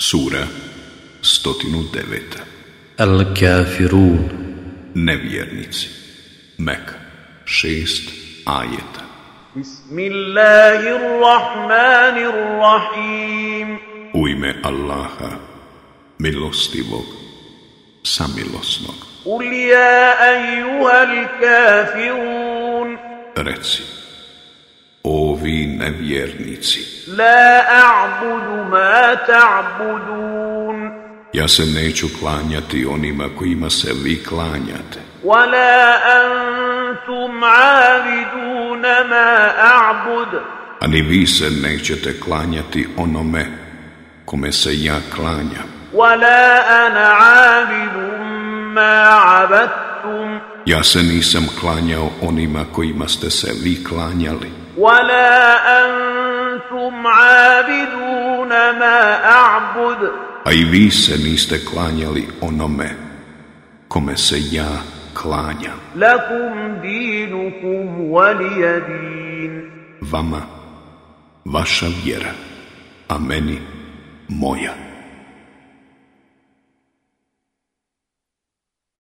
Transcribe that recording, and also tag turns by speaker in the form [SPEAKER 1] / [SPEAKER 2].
[SPEAKER 1] Sura 109.
[SPEAKER 2] الكافرون
[SPEAKER 1] Nevjernici. Mek. Šest ajeta.
[SPEAKER 3] بسم الله الرحمن الرحيم
[SPEAKER 1] U ime Allaha, milostivog, samilosnog.
[SPEAKER 3] قل يا أيها الكافرون
[SPEAKER 1] Reci, o vi nevjernici,
[SPEAKER 3] لا أعبد ما تعبدون
[SPEAKER 1] ja se neću klanjati onima kojima se vi klanjate,
[SPEAKER 3] ولا أنتم عابدون ما أعبد
[SPEAKER 1] a ni vi se nećete klanjati onome kome se ja klanjam.
[SPEAKER 3] ولا أنا عابد ما عبدتم
[SPEAKER 1] Ja se nisam klanjao onima kojima ste se vi klanjali,
[SPEAKER 3] ولا أنتم عابدون ما أعبد
[SPEAKER 1] a i vi se niste klanjali onome kome se ja klanjam.
[SPEAKER 3] لكم دينكم ولي دين
[SPEAKER 1] Vama, vaša vjera, a meni, moja.